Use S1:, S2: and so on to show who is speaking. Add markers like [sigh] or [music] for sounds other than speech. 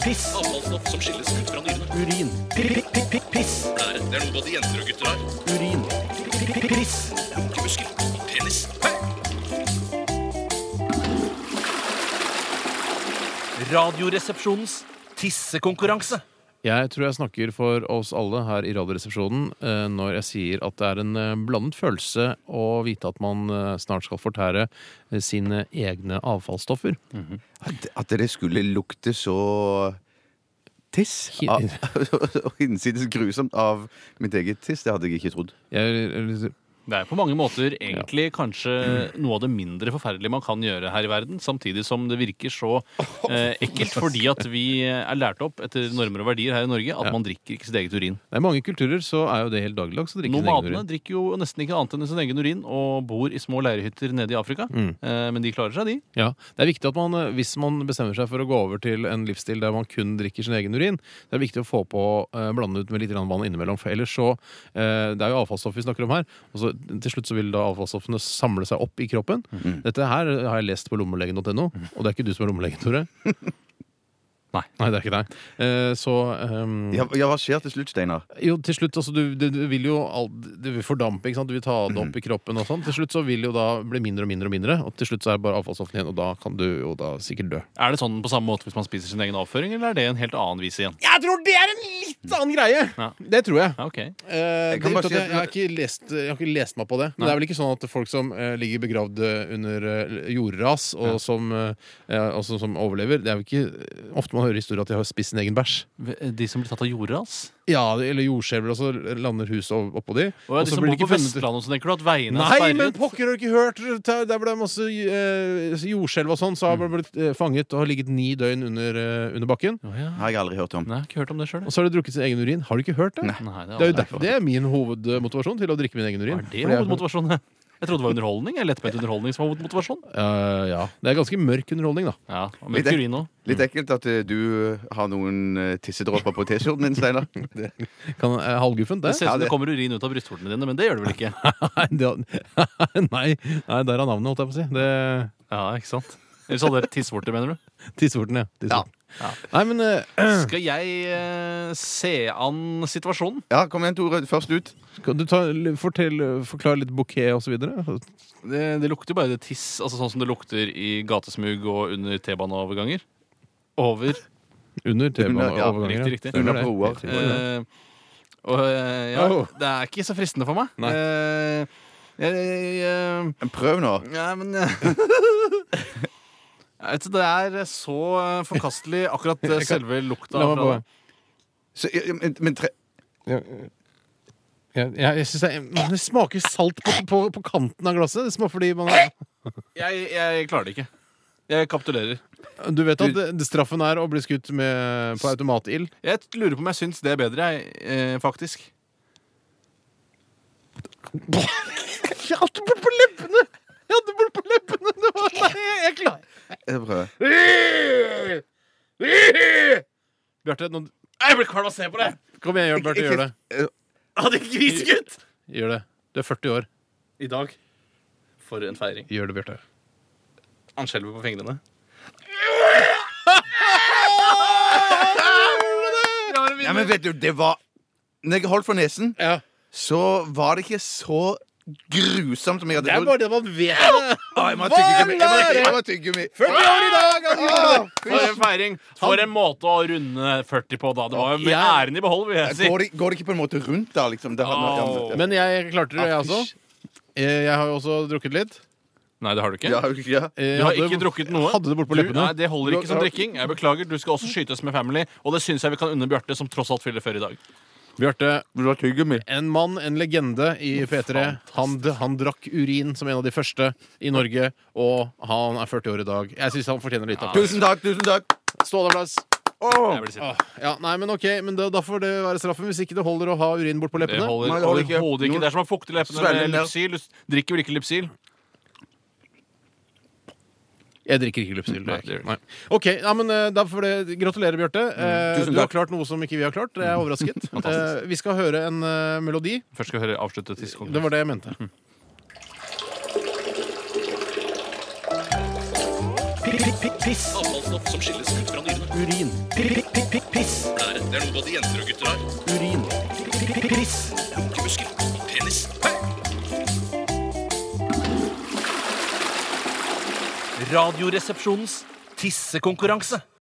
S1: Piss.
S2: Avfallsstoff altså, som skilles ut fra nyrene.
S1: Urin. Piss.
S2: Blære. Det er noe både jenter og gutter har.
S1: Urin. Piss.
S2: Lunkemuskel. Penis.
S3: Radioresepsjonens tissekonkurranse.
S4: Jeg tror jeg snakker for oss alle her i Radioresepsjonen eh, når jeg sier at det er en eh, blandet følelse å vite at man eh, snart skal fortære eh, sine egne avfallsstoffer.
S5: At, at det skulle lukte så tiss.
S4: Hi-
S5: Av, [laughs] og innsides grusomt av mitt eget tiss. Det hadde jeg ikke trodd.
S4: Jeg, eh, eller-
S3: Det er på mange måter egentlig kanskje noe av det mindre forferdelige man kan gjøre her i verden, samtidig som det virker så eh, ekkelt fordi at vi er lært opp etter normer og verdier her i Norge at man drikker ikke sitt eget urin.
S4: det er mange kulturer så er jo det helt dagligdags å drikke sin egen
S3: Nomadene
S4: urin.
S3: drikker jo nesten ikke annet enn sin egen urin og bor i små leirhytter nede i Afrika, eh, men de klarer seg, de.
S4: Ja, det er viktig at man, eh, Hvis man bestemmer seg for å gå over til en livsstil der man kun drikker sin egen urin, det er viktig å få på eh, blande ut med litt grann vann innimellom. For ellers så, eh, Det er jo avfallsstoff vi snakker om her. og så Til slutt så vil da avfallsstoffene samle seg opp i kroppen. Dette her har jeg lest på lommelegen.no, og det er ikke du som er lommelegen, Tore.
S3: Nei.
S4: Nei, det er ikke deg. Eh, så ehm,
S5: Ja, ja, hva skjer til slutt, Steinar?
S4: jo, til slutt, altså, du, du, du vil jo all, du vil fordampe, ikke sant? du vil ta det opp i kroppen og sånn. Til slutt så vil det jo da bli mindre og mindre og mindre, og til slutt så er det bare avfallsstoffene igjen, og da kan du jo da sikkert dø.
S3: Er det sånn på samme måte hvis man spiser sin egen avføring, eller er det en helt annen vis igjen?
S4: Jeg tror det er en litt annen greie!
S3: Ja.
S4: Det tror jeg.
S3: Ja, ok.
S4: Eh,
S5: Jeg kan bare
S4: grunnen til
S5: si
S4: at jeg,
S5: at-
S4: jeg, har ikke lest, jeg har ikke lest meg på det. Men det er vel ikke sånn at folk som eh, ligger begravd eh, under eh, jordras, og, som, eh, eh, og som, som overlever Det er jo ikke ofte man hører historier at de har spist sin egen bæsj.
S3: De som blir tatt av jordras?
S4: Ja, eller jordskjelver, og så lander huset opp- oppå de.
S3: Og
S4: og
S3: de
S4: så
S3: som
S4: blir
S3: bor på
S4: det ikke funnet
S3: Vestlandet, så tenker du at veiene er
S4: Nei,
S3: sperret?
S4: men pokker har du ikke hørt Ta- Der ble det masse eh, jordskjelv og sånn Så har man blitt eh, fanget og har ligget ni døgn under, eh, under bakken
S3: Å, ja.
S5: Har jeg aldri hørt om.
S3: Nei, jeg har ikke hørt om det sjøl.
S4: Og så har du drukket sin egen urin Har du ikke hørt det?
S3: Nei, det
S4: Det er jo derfor det er min hovedmotivasjon til å drikke min egen urin
S3: Er det
S4: Fordi jeg-
S3: hovedmotivasjonen? [laughs] Jeg trodde det var underholdning. Jeg lettbeint underholdning som var hovedmotivasjon.
S4: Eh, ja, det er ganske mørk underholdning da
S3: Ja, og
S5: Litt
S3: med
S5: ek-
S3: urin også.
S5: Litt ekkelt at eh, du har noen eh, tissedråper på T-skjorten din, Steinar.
S4: [laughs] kan, eh, Halvguffen,
S3: Det
S4: det?
S3: ser ut som det kommer urin ut av brystvortene dine, men det gjør det vel ikke?
S4: [laughs] Nei, det [laughs] nei, nei, der er navnet holdt jeg på å si Det
S3: Ja, ikke sant? Eller så hadde dere tissevorter, mener du?
S4: Tissorten, ja, tissorten.
S3: Ja.
S4: Nei, men eh,
S3: Skal jeg eh, se an situasjonen?
S5: Ja, kom igjen, Tore. Først ut.
S4: skal du ta, fortell, forklare litt bouquet og så videre?
S3: Det, det lukter jo bare det tiss, altså sånn som det lukter i gatesmug og under T-baneoverganger. Over.
S4: Under
S5: Under, ja,
S4: TV-overganger
S3: riktig, riktig.
S5: Under broer.
S3: Eh, og eh, ja,
S4: Oh.
S3: det er ikke så fristende for meg.
S4: Nei.
S3: Eh, jeg, jeg, eh,
S5: Prøv nå.
S3: Nei, men [laughs] Vet du, Det er så forkastelig,
S4: [laughs]
S3: akkurat eh, selve lukta.
S4: La meg
S3: fra
S4: bare
S3: det.
S5: Så, ja, men, men tre...
S4: Ja, Jeg, jeg, jeg synes det, er- men det smaker salt på, på, på kanten av glasset. Det smaker fordi man er,
S3: Jeg, jeg klarer det ikke. Jeg kapitulerer.
S4: Du vet at det, det straffen er å bli skutt med, på automatild.
S3: Jeg lurer på om jeg syns det er bedre, jeg, eh, faktisk.
S4: Jeg hadde blod på leppene! Jeg hadde blod på leppene! Det var, nei, jeg klarer
S5: Jeg prøver.
S4: Bjarte, nå-
S3: Jeg blir kvalm av å se på det!
S4: kom igjen, gjør, Bjarte, gjør det.
S3: Hadde ikke grisegutt!
S4: Gjør det. Du er 40 år.
S3: I dag. For en feiring.
S4: Gjør det, Bjarte.
S3: Han skjelver på fingrene.
S5: Ja, men vet du, det var Når jeg holdt for nesen,
S4: Ja.
S5: så var det ikke så grusomt som jeg hadde trodd.
S4: det man vet.
S5: Ah, jeg må ha tyggegummi. Jeg må ha- Jeg må ha tyggegummi.
S4: 40 år i dag! altså.
S3: For en feiring! For en måte å runde 40 på, da. Det var jo med
S4: Ja.
S3: æren i behold, vil jeg si.
S5: Går det, går det ikke på en måte rundt, da? liksom? Det hadde,
S3: Au.
S5: ja,
S4: Men jeg klarte det, jeg også. Eh, Jeg har jo også drukket litt.
S3: Nei, det har du ikke.
S5: ja, ja.
S4: Jeg
S3: Du har
S4: hadde-
S3: ikke drukket noe.
S4: Hadde det bort på
S3: Du-
S4: leppene.
S3: Nei, Det holder ikke som
S4: Ja.
S3: drikking. Jeg beklager, Du skal også skytes med family, og det syns jeg vi kan unne Bjarte, som tross alt fyller før i dag.
S4: Bjarte,
S5: Vil du ha tyggegummi?
S4: En mann, en legende i P3. Han, han drakk urin som en av de første i Norge, og han er 40 år i dag. Jeg syns han fortjener litt applaus.
S5: Tusen takk, tusen takk.
S4: Ståleapplaus.
S3: Jeg blir sittende.
S4: Åh, Ja, nei, men ok, men da, da får det være straffen hvis ikke det holder å ha urin bort på
S3: Det
S4: leppene.
S3: holder
S5: Nei, det holder ikke.
S3: overhodet ikke. Det er som å fukte leppene
S5: Svelge
S3: med
S5: ned.
S3: Lypsyl. Du s- drikker vel ikke Lypsyl?
S4: Jeg drikker ikke Lypsyl.
S3: Nei,
S4: det
S3: det
S4: gjør
S3: gjør Mm,
S4: jeg ikke. Nei. Ok, ja, men eh, da får det Gratulerer, Bjarte. Eh,
S5: Tusen
S4: du har
S5: takk.
S4: klart noe som ikke vi har klart. Jeg er overrasket.
S3: [laughs] Fantastisk.
S4: Eh, vi skal høre en eh, melodi.
S3: Først skal vi høre avslutte
S4: Det
S3: tidskongen.
S4: var det jeg mente.
S1: Piss.
S6: piss,
S7: Avfallsstoff som skilles ut fra nyrene.
S6: urin, Pi- pi- pi- piss,
S7: Blære. Det er noe både jenter og gutter har.
S6: urin, Pi- pi- piss.
S7: Lunkemuskel. Penis.
S1: Radioresepsjonens tissekonkurranse.